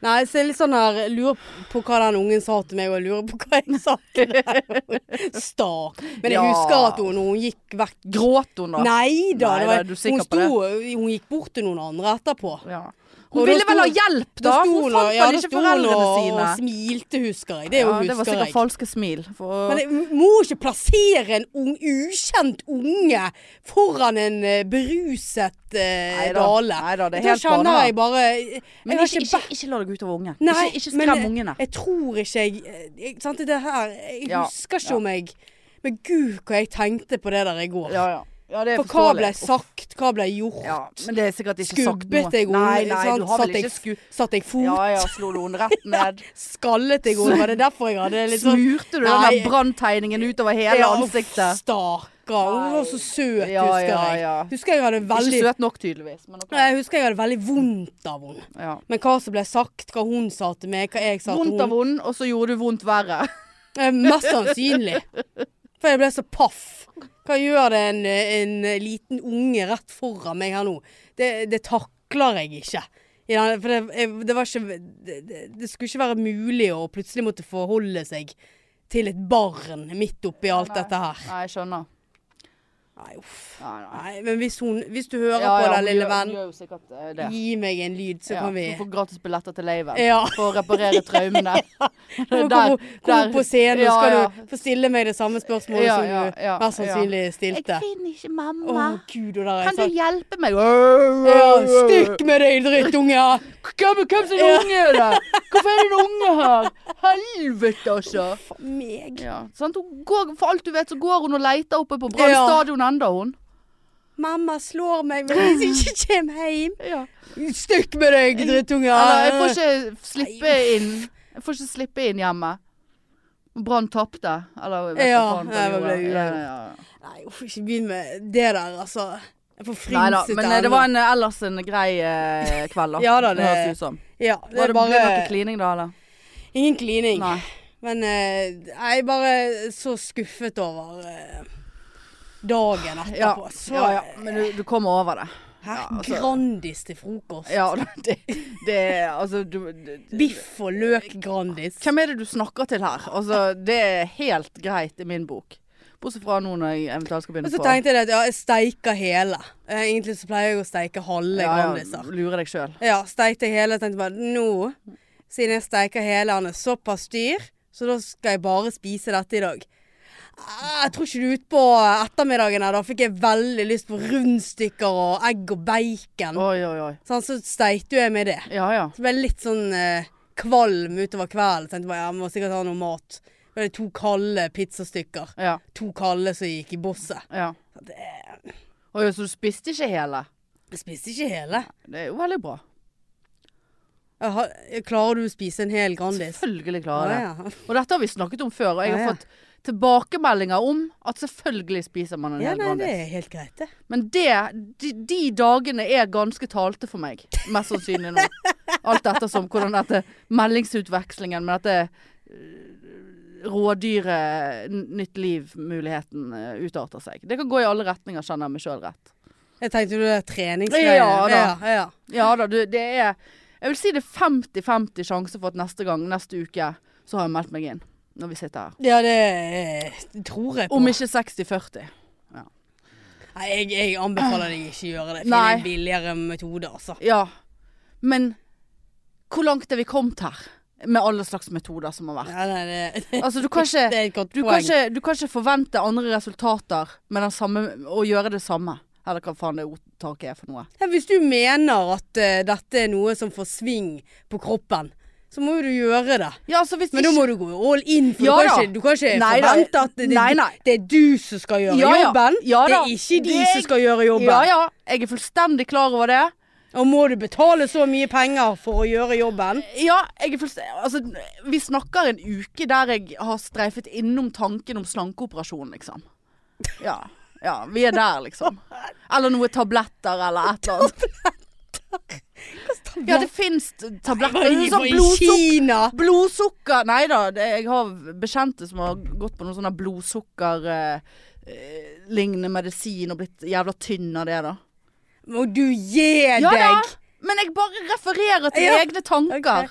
Nei, så jeg er litt sånn her jeg Lurer på hva den ungen sa til meg, og jeg lurer på hva jeg sa til den. Stak. Men jeg
Ja.
husker at hun, når hun gikk vekk
Gråt hun, da? Nei
Nei da, det
da,
var,
er du sikker
hun,
på det?
sto, hun gikk bort til noen andre etterpå.
Ja. Hun
Og da
ville vel
sto-
ha hjelp, da!
sto
Hun
hun og-
fant
ja,
vel
da
ikke
sto hun
foreldrene
og-
sine.
Og smilte, husker jeg. Det
Ja,
husker
det var sikkert
jeg.
falske smil. For,
Men jeg må ikke plassere en ung, ukjent unge foran en eh, beruset eh,
Neida,
dale.
neida, det er
da
helt
kjenner
barnevern.
jeg bare jeg
Men
har
ikke,
ikke
ikke, ikke la deg ut over ungen.
Nei,
ikke ikke
men
skrem
jeg-
ungene.
Jeg tror ikke jeg, eh, jeg sant, det her, Jeg
Ja,
husker ikke
ja.
om jeg Men gud, hva jeg tenkte på det der i går.
Ja, ja. ja, det er
For hva ble
forståelig.
sagt? Hva ble gjort?
Ja, men det er sikkert ikke
Skubbet
sagt noe.
jeg henne?
Nei, nei,
sant?
du har
Satt
vel
jeg-
ikke skubbet
Satt jeg fot?
Ja, ja, slo du henne rett ned?
Skallet jeg henne? Var det derfor jeg hadde litt sånn
Smurte du den
Nei.
der branntegningen utover hele
Ja, uff,
ansiktet?
Stakkar. Hun var så søt,
Ja,
husker
ja,
jeg.
ja.
Husker jeg hadde veldig
Ikke søt nok, tydeligvis. Men ok.
Nei, Jeg husker jeg hadde veldig vondt av henne.
ja.
Men hva som ble sagt, hva hun sa til meg, hva jeg sa
Vondt
til
av
henne
vond, og så gjorde du vondt verre.
Eh, Mest sannsynlig. For jeg ble så paff. Hva gjør det en, en liten unge rett foran meg her nå? Det, det takler jeg ikke. I den- For det, jeg- det var ikke det, det- det skulle ikke være mulig å plutselig måtte forholde seg til et barn midt oppi alt dette her.
Nei, jeg skjønner.
Nei, uff.
Nei, nei.
Nei, men hvis, hun, hvis du hører
Ja,
på
ja,
det,
hun
lille
gjør-
venn,
hun Gjør jo sikkert eh, det.
gi meg en lyd, så
Ja,
kan vi
Du får gratis billetter til Leiven
Ja.
for å reparere traumene.
Kom, kom, kom på scenen,
Ja,
så skal
ja.
du få stille meg det samme spørsmålet
Ja,
som du
ja, ja,
mest sannsynlig stilte.
finner ikke
Å,
mamma.
gud, og der er jeg
Kan du
sånn
hjelpe meg?
ja, Stikk med deg, drittunge!
Hvem, hvem sin unge er det? Hvorfor er det en unge her? Helvete, altså.
Faen meg.
Ja, sant? Hun går, for alt du vet, så går hun og leter oppe på Brann
Ja.
stadion enda, hun.
Mamma slår meg hvis jeg ikke kommer hjem.
Ja.
Stikk med deg, drittunge!
Eller, jeg får ikke slippe inn Jeg får ikke slippe inn hjemme. Brann tapte, eller vet
Ja,
du hva faen han
ja, det ble
gjorde.
uavgjort.
Ja, ja, ja.
Nei, uff, ikke begynn med det der, altså. Jeg får
Nei da,
frynset
men eh, det var en, eh, ellers en grei eh, kveld, da.
Ja da, det-
høres ut som.
ja, det
Var
er
det bare... noe
bare
klining da, eller?
Ingen klining.
Nei.
Men eh, jeg er bare så skuffet over eh, dagen
Ja,
etterpå. Så
ja, ja. Men du, du kommer over det.
Her,
Ja, altså-
Grandis til frokost.
Ja, det, det er altså du, det- det-
Biff og løk Grandis.
Hvem er det du snakker til her? Altså, det er helt greit i min bok. Bortsett fra nå når jeg eventuelt skal begynne
Og så
på
tenkte jeg at ja, jeg steiker hele. Eh, Egentlig så pleier jeg å steike halve Grandiser.
lure deg sjøl.
Ja, steikte hele. Tenkte bare nå, siden jeg steiker hele, han er såpass dyr, så da skal jeg bare spise dette i dag. Ah, Jeg tror ikke du er ute på ettermiddagen her. Da fikk jeg veldig lyst på rundstykker og egg og bacon.
Oi, oi, oi.
Sånn, så steikte jo jeg med det.
Ja ja.
Så ble jeg litt sånn eh, kvalm utover kvelden. Tenkte bare, ja, jeg må sikkert ha noe mat. Så ble det to kalde pizzastykker.
Ja.
To kalde som gikk i bosset.
ja.
Det er-
Oi, så du spiste ikke hele?
Jeg spiste ikke hele.
Det er jo veldig bra.
Jeg har, jeg- klarer du å spise en hel Grandis?
Selvfølgelig klarer jeg det.
Ja, ja.
Og dette har vi snakket om før, og jeg
Ja, ja.
har fått tilbakemeldinger om at selvfølgelig spiser man en
Ja,
hel
nei, det
Grandis.
er helt greit, det.
Men det, de, de dagene er ganske talte for meg, mest sannsynlig nå. Alt ettersom hvordan dette meldingsutvekslingen med dette øh, rådyre n- nytt liv-muligheten øh, utarter seg. Det kan gå i alle retninger, kjenner jeg meg sjøl rett.
Jeg tenkte du det treningsgreiene.
Ja, da.
Ja, ja.
Ja da, du, det er Jeg vil si det er 50-50 sjanse for at neste gang, neste uke, så har jeg meldt meg inn. Når vi sitter her.
ja, det eh, tror jeg på.
Om ikke 60-40.
Nei, jeg, jeg anbefaler deg ikke å gjøre det. Finn
Nei.
en billigere metode, altså.
Ja, men hvor langt er vi kommet her? Med alle slags metoder som har vært.
Ja, nei, det, det
Altså, du kan ikke,
er et godt
du
poeng.
kan ikke, du kan ikke forvente andre resultater med den samme, å gjøre det samme. Eller hva faen det ordtaket er for noe.
Ja, Hvis du mener at eh, dette er noe som får sving på kroppen, så må jo du gjøre det.
Ja, altså hvis
Men da
ikke-
må du gå all in, for
Ja
du, kan
da.
ikke, du kan ikke
Nei da.
forvente at det,
Nei, nei.
det er du som skal gjøre
Ja, ja.
jobben.
Ja
det
da.
er ikke de
Det er-
som skal gjøre jobben.
Ja ja, jeg er fullstendig klar over det.
Og må du betale så mye penger for å gjøre jobben?
Ja, jeg er fullstendig Altså, vi snakker en uke der jeg har streifet innom tanken om slankeoperasjon, liksom. Ja. Ja, vi er der, liksom. Eller noe tabletter eller et eller annet. Ja, det fins tabletter. Det er
Sånn
Sånn blodsuk
Kina.
blodsukker Nei da, det- jeg har bekjente som har gått på noe sånn blodsukkerlignende eh, medisin og blitt jævla tynn av det, da.
Må du gi
Ja da,
deg?
men jeg bare refererer til
Ja,
egne tanker.
ok.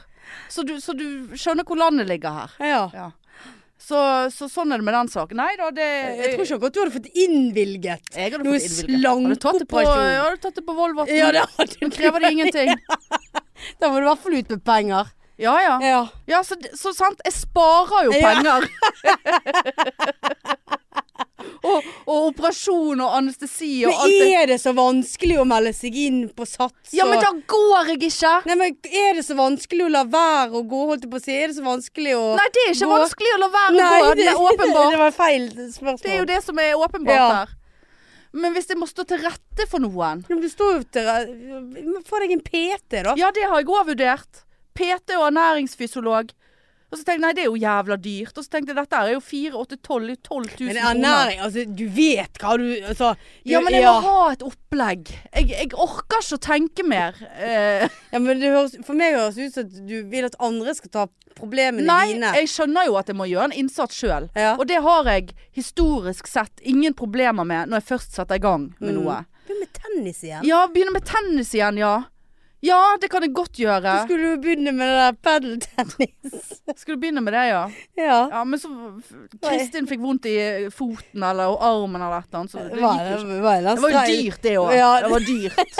Så, du, så du skjønner hvor landet ligger her.
Ja.
Ja. Så, så sånn er det med den saken. Nei da, det
Jeg tror ikke akkurat du hadde fått innvilget
Eh, jeg hadde
noe
fått innvilget. Har du tatt det på-
slankeoperasjon.
Har du tatt det på Volvat?
Ja, det hadde
Men krever det ingenting?
Da må du i hvert fall ut med penger.
Ja ja.
Ja.
ja så, det- så sant. Jeg sparer jo
Ja.
penger. og, og operasjon og anestesi og alt
Men
det.
er det så vanskelig å melde seg inn på sats?
Ja, men
og-
da går jeg ikke!
Nei, men Er det så vanskelig å la være å gå, holdt jeg på å si? Er det så vanskelig å
Nei, det er ikke
Gå-
vanskelig å la være å
Nei,
gå. Det er åpenbart.
Det var feil spørsmål.
Det er jo det som er åpenbart
Ja.
her. Men hvis jeg må stå til rette for noen
Men du står jo til re- Få deg en PT, da.
Ja, det har jeg òg vurdert. PT og ernæringsfysiolog. Og så tenkte jeg nei, det er jo jævla dyrt. Og så tenkte jeg dette er jo 4, 8, 12, 12 000
Men
kroner.
ernæring Altså, du vet hva du Altså du-
Ja, men jeg må
ja.
ha et opplegg. Jeg, jeg orker ikke å tenke mer. Eh,
ja, men det høres, For meg høres det ut som at du vil at andre skal ta problemene
nei,
dine.
jeg skjønner jo at jeg må gjøre en innsats sjøl.
Ja.
Og det har jeg historisk sett ingen problemer med når jeg først setter i gang med
Mm.
noe.
Begynn med tennis igjen.
Ja, begynne med tennis igjen, ja. Ja, det kan jeg godt gjøre.
Du skulle jo begynne med det der padeltennis.
Skulle begynne med det, ja.
ja.
Ja, men så Kristin fikk vondt i foten eller og armen eller et eller annet. Så det,
Hva
gikk jo ikke.
er- hva er den
det var jo
streil-
dyrt, det òg.
Ja.
Det var dyrt.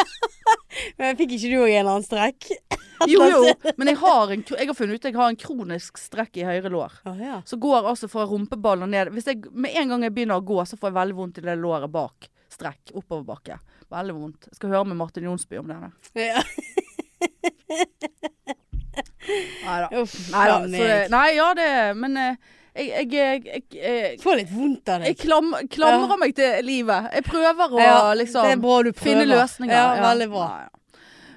Men fikk ikke du òg en eller annen strekk?
Jo, jo. Men jeg har, en, jeg har funnet ut at jeg har en kronisk strekk i høyre lår.
Å ja.
Så går altså fra rumpeball og ned. Hvis jeg, med en gang jeg begynner å gå, så får jeg veldig vondt i det låret bak. Strekk. Oppoverbakke. Veldig vondt. Jeg skal høre med Martin Jonsby om det. her.
ja.
Neida.
Uff,
Neida,
faen
så det-
meg.
Nei ja, det Men eh, jeg, jeg, jeg, jeg
Får litt vondt av
Jeg
deg.
klam, klamrer meg til livet. Jeg prøver å
Ja, det er
liksom
bra du prøver.
finne løsninger.
Ja, veldig bra.
Ja, ja.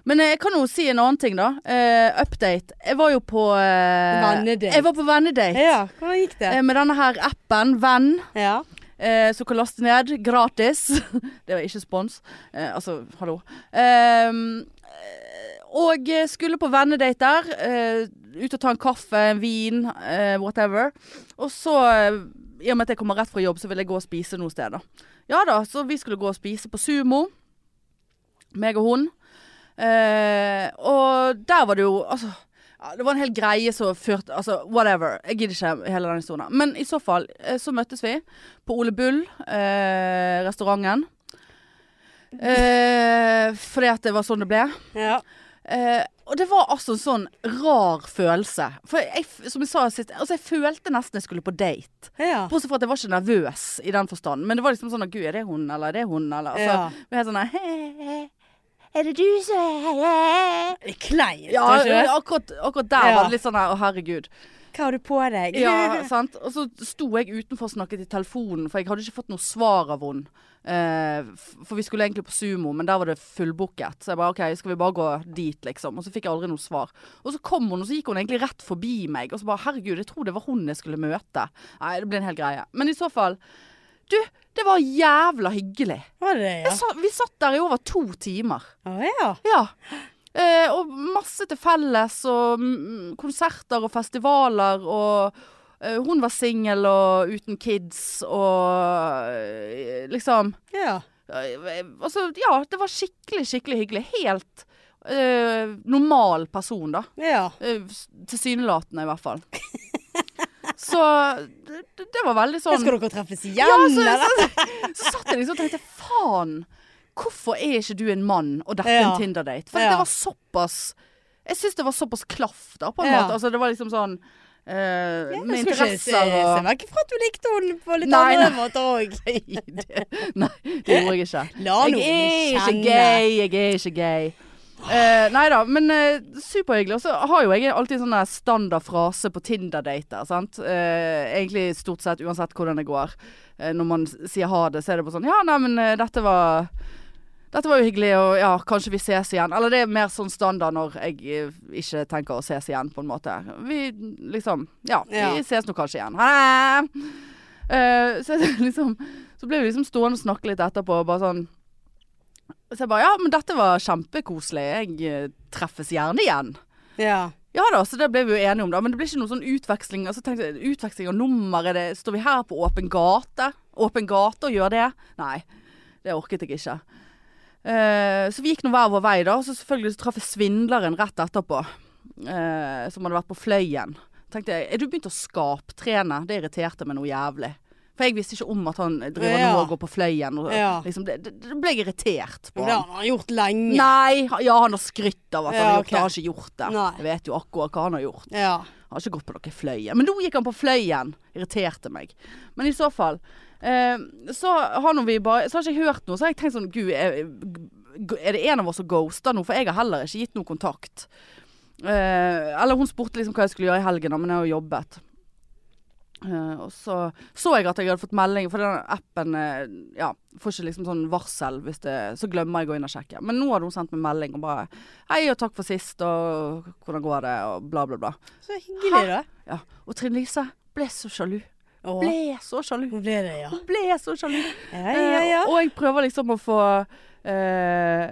Men eh, jeg kan jo si en annen ting, da. Eh, update. Jeg var jo på eh,
Vennedate.
Jeg var på vennedate
Ja, hvordan gikk det?
eh, med denne her appen Venn,
Ja.
eh, som kan laste ned gratis. det var ikke spons. Eh, altså, hallo. Ehm, eh, og eh, skulle på vennedate der. eh, ut og ta en kaffe, en vin, eh, whatever. Og så, eh, i og med at jeg kommer rett fra jobb, så vil jeg gå og spise noe sted, da. Ja da, så vi skulle gå og spise på Sumo. Meg og hun. Eh, og der var det jo Altså. ja, Det var en hel greie som førte Altså, whatever. Jeg gidder ikke hele den historien. Men i så fall, eh, så møttes vi på Ole eh, Bull-restauranten. Eh, fordi at det var sånn det ble.
ja.
Eh, og det var altså en sånn rar følelse. For jeg, f- som jeg sa sist, altså jeg følte nesten jeg skulle på date.
ja.
Bortsett fra at jeg var ikke nervøs i den forstand. Men det var liksom sånn at gud, er det hun, eller er det hun, eller altså,
Ja.
det var helt sånn, «He, Er det du som er her?»
Det er kleint,
ja,
er ikke det?
akkurat, akkurat der
Ja.
var det litt sånn her, å herregud.
Hva har du på deg?
Ja, sant? Og så sto jeg utenfor og snakket i telefonen, for jeg hadde ikke fått noe svar av henne. Eh, f- for vi skulle egentlig på sumo, men der var det fullbooket. Så jeg bare OK, skal vi bare gå dit, liksom? Og så fikk jeg aldri noe svar. Og så kom hun, og så gikk hun egentlig rett forbi meg. Og så bare herregud, jeg tror det var hun jeg skulle møte. Nei, det ble en hel greie. Men i så fall Du, det var jævla hyggelig.
Var det det, ja?
Jeg sa, vi satt der i over to timer.
Å ja.
Ja. Eh, og masse til felles, og mm, konserter og festivaler, og eh, hun var singel og uten kids, og eh, liksom
ja.
eh, Altså, ja, det var skikkelig, skikkelig hyggelig. Helt eh, normal person, da.
Ja.
Eh, s- Tilsynelatende, i hvert fall. Så det, det- det var veldig sånn
Skal dere treffes
ja,
igjen,
så, sånn.
eller?
så, så satt jeg liksom og tenkte faen, hvorfor er ikke du en mann og dette
Ja.
en Tinder-date? For
Ja.
det var såpass Jeg syns det var såpass klaff, da, på en
Ja.
måte. Altså, det var liksom sånn eh,
Jeg
med
skulle ikke se,
interesser
se
og
vekk fra at du likte henne på litt
Nei,
andre måter òg.
Nei, det gjorde jeg ikke.
La
Jeg
nå
er ikke
henne kjenne.
gay, jeg er ikke gay. Eh, nei da, men eh, superhyggelig. Og så har jo jeg alltid sånn der standard frase på Tinder-dater. sant? Eh, egentlig stort sett uansett hvordan det går. Eh, når man s- sier ha det, så er det bare sånn Ja, nei, men eh, dette var dette var jo hyggelig, og ja, kanskje vi ses igjen. Eller det er mer sånn standard når jeg eh, ikke tenker å ses igjen, på en måte. Vi liksom Ja,
Ja.
vi ses nå kanskje igjen. Ha det! Eh, så, jeg liksom, så ble vi liksom stående og snakke litt etterpå, og bare sånn Så jeg bare Ja, men dette var kjempekoselig. Jeg eh, treffes gjerne igjen.
Ja.
Ja da, så det ble vi jo enige om, da. Men det ble ikke noen sånn utveksling. Altså, tenkte, jeg, utveksling av nummer, er det, står vi her på åpen gate? Åpen gate og gjør det? Nei, det orket jeg ikke. Eh, så vi gikk nå hver vår vei, da. Og så selvfølgelig så traff jeg svindleren rett etterpå. eh, som hadde vært på Fløyen. Tenkte jeg, er du begynt å skaptrene? Det irriterte meg noe jævlig. For jeg visste ikke om at han driver
Ja.
nå og går på Fløyen. Og,
Ja.
liksom, det, det, det ble jeg irritert på.
Men det
han.
har han gjort lenge.
Nei, ha- ja han har skrytt av at han
Ja,
har gjort
ok.
det. Han har ikke gjort det.
Nei.
Jeg vet jo akkurat hva han har gjort.
Ja.
Han har ikke gått på noe fløyen. Men nå gikk han på fløyen. Irriterte meg. Men i så fall eh, så, har nå vi bare, så har ikke jeg hørt noe. Så har jeg tenkt sånn Gud, er, er det en av oss som ghoster nå? For jeg har heller ikke gitt noe kontakt. Eh, eller hun spurte liksom hva jeg skulle gjøre i helgen, da, men jeg har jo jobbet. Eh, og så så jeg at jeg hadde fått melding, for den appen eh, ja, får ikke liksom sånn varsel hvis det Så glemmer jeg å gå inn og sjekke. Men nå hadde hun sendt meg melding og bare 'Hei, og takk for sist, og hvordan går det?' og bla, bla, bla.
Så hyggelig, da.
Ja. Og Trine Lise ble så sjalu.
Å,
Ble så sjalu.
Nå ble det, ja.
Ble så sjalu.
Ja, ja, ja.
Eh, og jeg prøver liksom å få eh,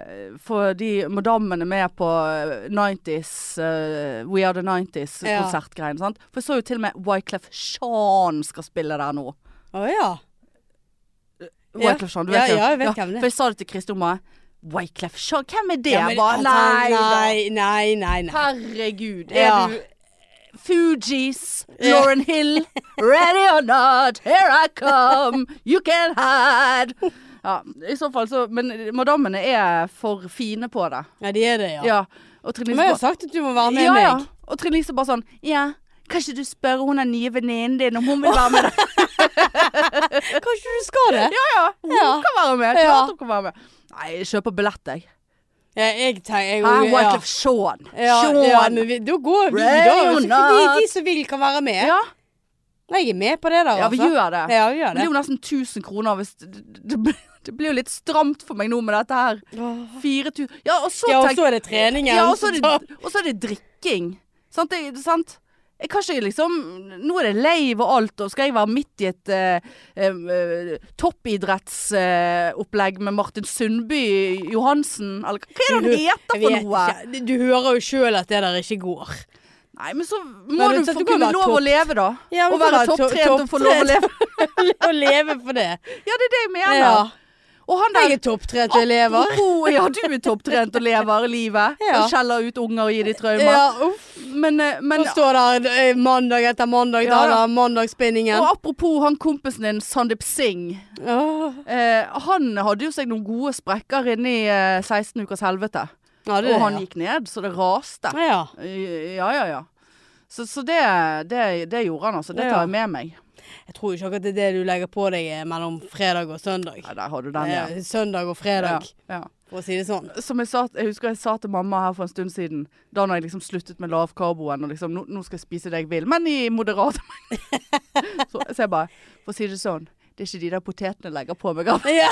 få de madammene med på 90s eh, We Are The 90s-konsertgreiene.
Ja.
sant? For jeg så jo til og med Wyclef Jean skal spille der nå.
Å ja.
Wyclef Jean, du
Ja,
vet jo.
ja, jeg vet hvem det er.
For jeg sa det til Kristin Oma. Wyclef Jean, hvem er det?
ja
Jeg bare,
altså,
nei,
nei, nei,
da.
nei, nei.
Herregud, er
Ja.
du Fugees,
Ja.
Lauren Hill, ready or not, here I come, you can hide. Ja, i så fall så, men madammene er for fine på det.
Ja, de er det,
Ja,
ja.
og Trine
Men jeg har jo
Lise
sagt at du må være med
ja, ja.
meg.
Og Trine Lise bare sånn, ja, kanskje du spør hun er nye venninnen din om hun vil være med deg.
Kanskje du skal det?
Ja, ja, hun
Ja.
kan være med,
Ja.
klart hun kan være med. Nei, jeg kjøper billett jeg.
Ja, jeg tenker jeg,
Hæ,
ja.
Wyclef Sean.
Ja,
Sean.
ja, men vi, da går vi, da.
Ready or
Så de, de
not.
som vil, kan være med.
ja.
Nei, Jeg er med på det der,
ja, vi
altså.
gjør det.
Ja, vi gjør
Det blir
det.
jo nesten 1000 kroner hvis det, det, blir- det blir jo litt stramt for meg nå med dette her. 4000 Ja, og så
Ja, og
tenk-
så er det treningen.
Ja, og så er
så-
det, og så er det drikking. Sant? Det, sant? Jeg kan ikke liksom Nå er det leiv og alt, og skal jeg være midt i et eh, eh, toppidrettsopplegg med Martin Sundby Johansen, eller hva er det han
Jeg
heter for
vet
noe?
ikke. Du hører jo sjøl at det der ikke går.
Nei, men så må
Men
du
du-
få
du kan være
kunne lov
topp-
å leve, da.
Ja, men
og
du kan
være
være to-
topptrent og få lov å
topptrent.
leve.
Å leve for det.
Ja, det er det jeg mener.
Ja.
Og han der
Jeg er topptrent elever.
Apropos, ja, du er topptrent og lever livet.
Ja.
Og skjeller ut unger og gir dem traumer.
Ja, uff.
Men, eh, men
Og står der eh, mandag etter mandag,
Ja, ja.
da da, mandagsspinningen.
og apropos han kompisen din, Sandeep Singh.
Åh.
Eh, han hadde jo seg noen gode sprekker inne i eh, 16 ukers helvete.
Ja, det er
og
det,
han
ja.
gikk ned, så det raste.
Ja, ja.
Ja, ja, ja. Så, så det, det, det gjorde han, altså. Det
Ja.
tar jeg med meg.
Jeg tror ikke akkurat det er det du legger på deg eh, mellom fredag og søndag.
Ja, der har du den, ja.
Eh, Søndag og fredag,
ja. ja.
for å si det sånn.
som jeg, sa, jeg husker jeg sa til mamma her for en stund siden, da når jeg liksom sluttet med lavkarboen og liksom nå, 'Nå skal jeg spise det jeg vil, men i moderat mengde'. så, så jeg bare For å si det sånn, det er ikke de der potetene jeg legger på meg av.
Ja.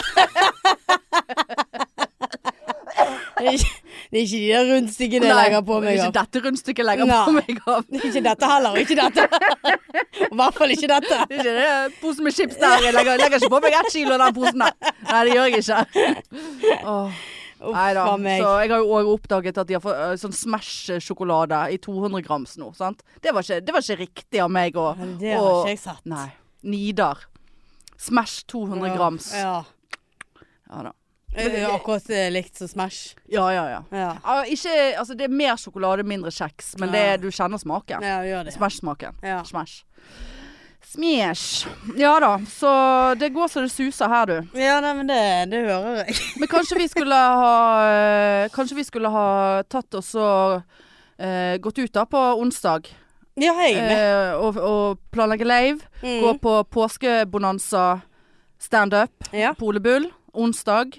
Det er ikke det er ikke de der rundstykkene jeg legger på
det
meg.
er
av.
ikke dette rundstykket jeg legger på
Nei.
meg av.
Ikke dette heller, og ikke dette. Og I hvert fall ikke dette.
Det er ikke det posen med chips der. Jeg legger, jeg legger ikke på meg ett kilo av den posen der. Nei, det gjør jeg ikke. Åh.
Uff
Nei da.
a meg.
Så jeg har jo òg oppdaget at de har fått øh, sånn Smash-sjokolade i 200 grams nå. Sant? Det, var ikke, det var ikke riktig av meg å
Men Det har
og-
ikke jeg sett.
Nei. Nidar. Smash 200 grams. Ja,
Ja.
da.
Det er jo akkurat eh, likt som Smash.
Ja, ja, ja.
Ja,
Ja, Ikke, altså, det er mer sjokolade, mindre kjeks, men det,
Ja.
du kjenner smaken.
ja gjør det.
Smash-smaken.
Ja.
Smash. Smash. Ja da, så det går så det suser her, du.
ja nei, men det, det hører jeg.
Men kanskje vi skulle eh, ha Kanskje vi skulle ha tatt oss og eh, gått ut da på onsdag.
Ja, jeg er med.
eh, og, og planlegge lave.
Mm.
Gå på påskebonanza standup.
Ja.
Polebull. Onsdag.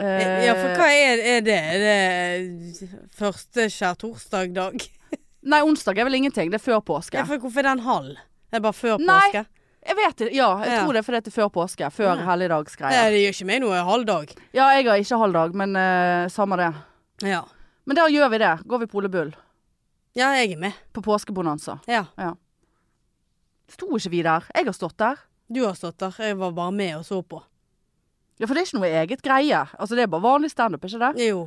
Eh,
ja, for hva er, er det? Er det første skjærtorsdag-dag?
Eh, Nei, onsdag er vel ingenting. Det er før påske.
Ja, for hvorfor er den halv? Er det bare før
Nei.
påske?
Jeg vet det. Ja, jeg
Ja.
tror det er fordi det er før påske. Før
Ja.
helligdagsgreier.
Nei, det gjør ikke meg noe halv dag.
Ja, jeg har ikke halvdag, men eh, samme det.
Ja.
Men da gjør vi det. Går vi polebull
ja, jeg er med.
på påskebonanza.
Ja.
Sto ikke vi der? Jeg har stått der.
Du har stått der. Jeg var bare med og så på.
Ja, for det er ikke noe eget greie. Altså, det er bare vanlig standup, ikke det?
Jo.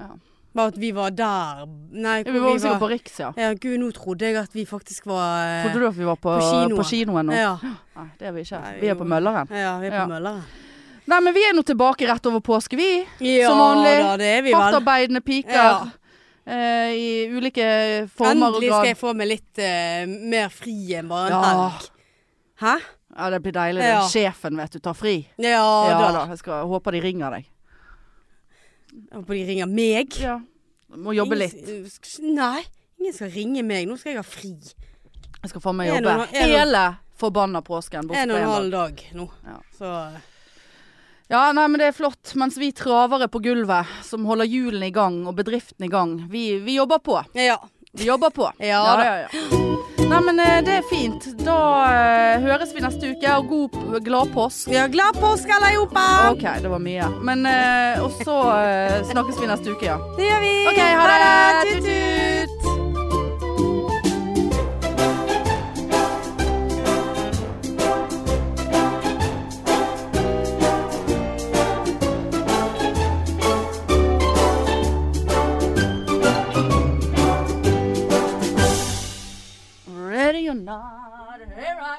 Ja.
Bare at vi var der Nei,
Ja, vi var sikkert på Riks, ja.
Ja, gud, nå trodde jeg at vi faktisk var
Trodde du at vi var på,
Eh, På kinoen.
på kinoen nå?
Ja.
Nei, det er vi ikke.
Nei,
Vi
jo.
er på Mølleren.
ja, vi er på
Ja.
Mølleren.
Nei, men vi er nå tilbake rett over påske, vi.
Ja,
Som vanlig.
Da, det er vi vel.
Hardtarbeidende piker.
Ja.
eh, I ulike former og
Endelig skal
grad.
jeg få meg litt eh, mer fri enn bare en
Ja.
helg. Hæ?
Ja, det blir deilig. det.
Ja.
Sjefen, vet du, tar fri.
Ja, da.
Jeg skal, håper de ringer deg.
Jeg Håper de ringer meg.
Ja. Må jobbe litt.
Ingen s- Nei, ingen skal ringe meg. Nå skal jeg ha fri.
Jeg skal faen meg
En og
jobbe
en halv- en og-
hele forbanna påsken. bort
En og
på en
en halv dag nå.
Ja.
Så
Ja, nei, men det er flott. Mens vi travere på gulvet, som holder hjulene i gang og bedriften i gang, vi, vi jobber på.
ja.
Vi jobber på.
Ja da.
ja, ja. Nei, men eh, det er fint. Da eh, høres vi neste uke, og god p- glad påsk.
Vi har glad påske, alle sammen!
OK, det var mye. Men eh, Og så eh, snakkes vi neste uke, ja.
Det gjør vi.
OK, ha det!
Tut, tut.
Tut-tut! Ready or not, here I